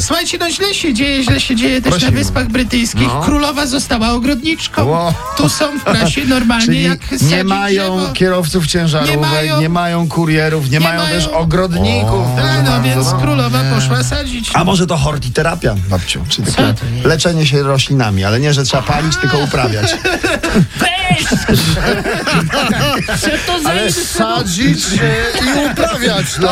Słuchajcie, no źle się dzieje, źle się dzieje też Prosimy. No. na Wyspach Brytyjskich. Królowa została ogrodniczką. Wow. Tu są w prasie normalnie Czyli jak sadzi nie mają drzewo. kierowców ciężarówek, nie Nie mają, mają- kurierów, nie, nie mają, mają- też ogrodników. Tak, no więc królowa poszła sadzić. A może to hortiterapia, babciu? Czy takie leczenie się roślinami, ale nie, że trzeba palić, tylko uprawiać. Weź! Co to za Ale sadzić się i uprawiać, no.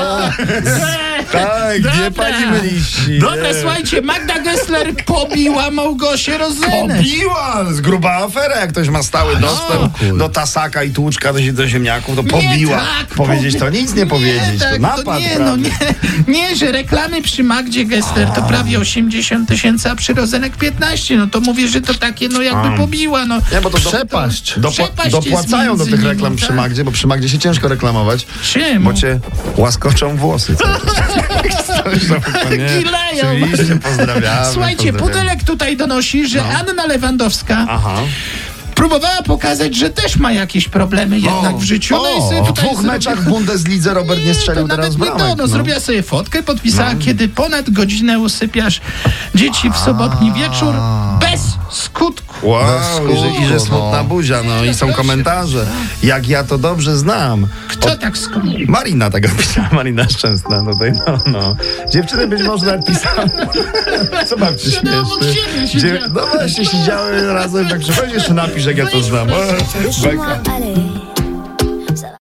Tak, Dobra. nie palimy liści. Dobra, nie. Eee, słuchajcie, Magda Gessler pobiła Małgosię Rozynę. Pobiła! z Gruba afera, jak ktoś ma stały dostęp do tasaka i tłuczka do, zie- do ziemniaków, to pobiła. tak, powiedzieć to pobi- nic nie, powiedzieć. tak, to to napad, nie, prawda? no nie, nie, że reklamy przy Magdzie Gessler to prawie 80 tysięcy, a przy Rozenek 15. No to mówię, że to takie, no jakby pobiła, no. Nie, bo to do- Przepaść. Dopo- Przepaść jest dopłacają do między tych nimi, reklam przy tak. Magdzie, bo przy Magdzie się ciężko reklamować, Czemu? bo cię łaskoczą włosy. Gileją. Oczywiście No. pozdrawiamy. Słuchajcie, pozdrawiamy. Pudelek tutaj donosi, że Anna Lewandowska Aha. próbowała pokazać, że też ma jakieś problemy jednak w życiu. No i sobie O, w tutaj dwóch zrobiła- meczach w Bundeslidze Robert nie strzelił to nawet teraz nie bramek. to, no, zrobiła sobie fotkę, podpisała, No. kiedy ponad godzinę usypiasz dzieci w sobotni wieczór bez skutku. Wow, Bez skutku, i, że, i że no. smutna buzia, no i są komentarze. Jak ja to dobrze znam. Kto tak skończył? Marina tego pisała, Marina Szczęsna tutaj, no, no. Dziewczyny być może napisały. Co mam ci Dziewczyny obok śmieszny? siebie Dziew- siedziały. No właśnie, siedziały razem, tak że weź jeszcze napisz, jak ja to znam. E, Laisse-moi beka. aller.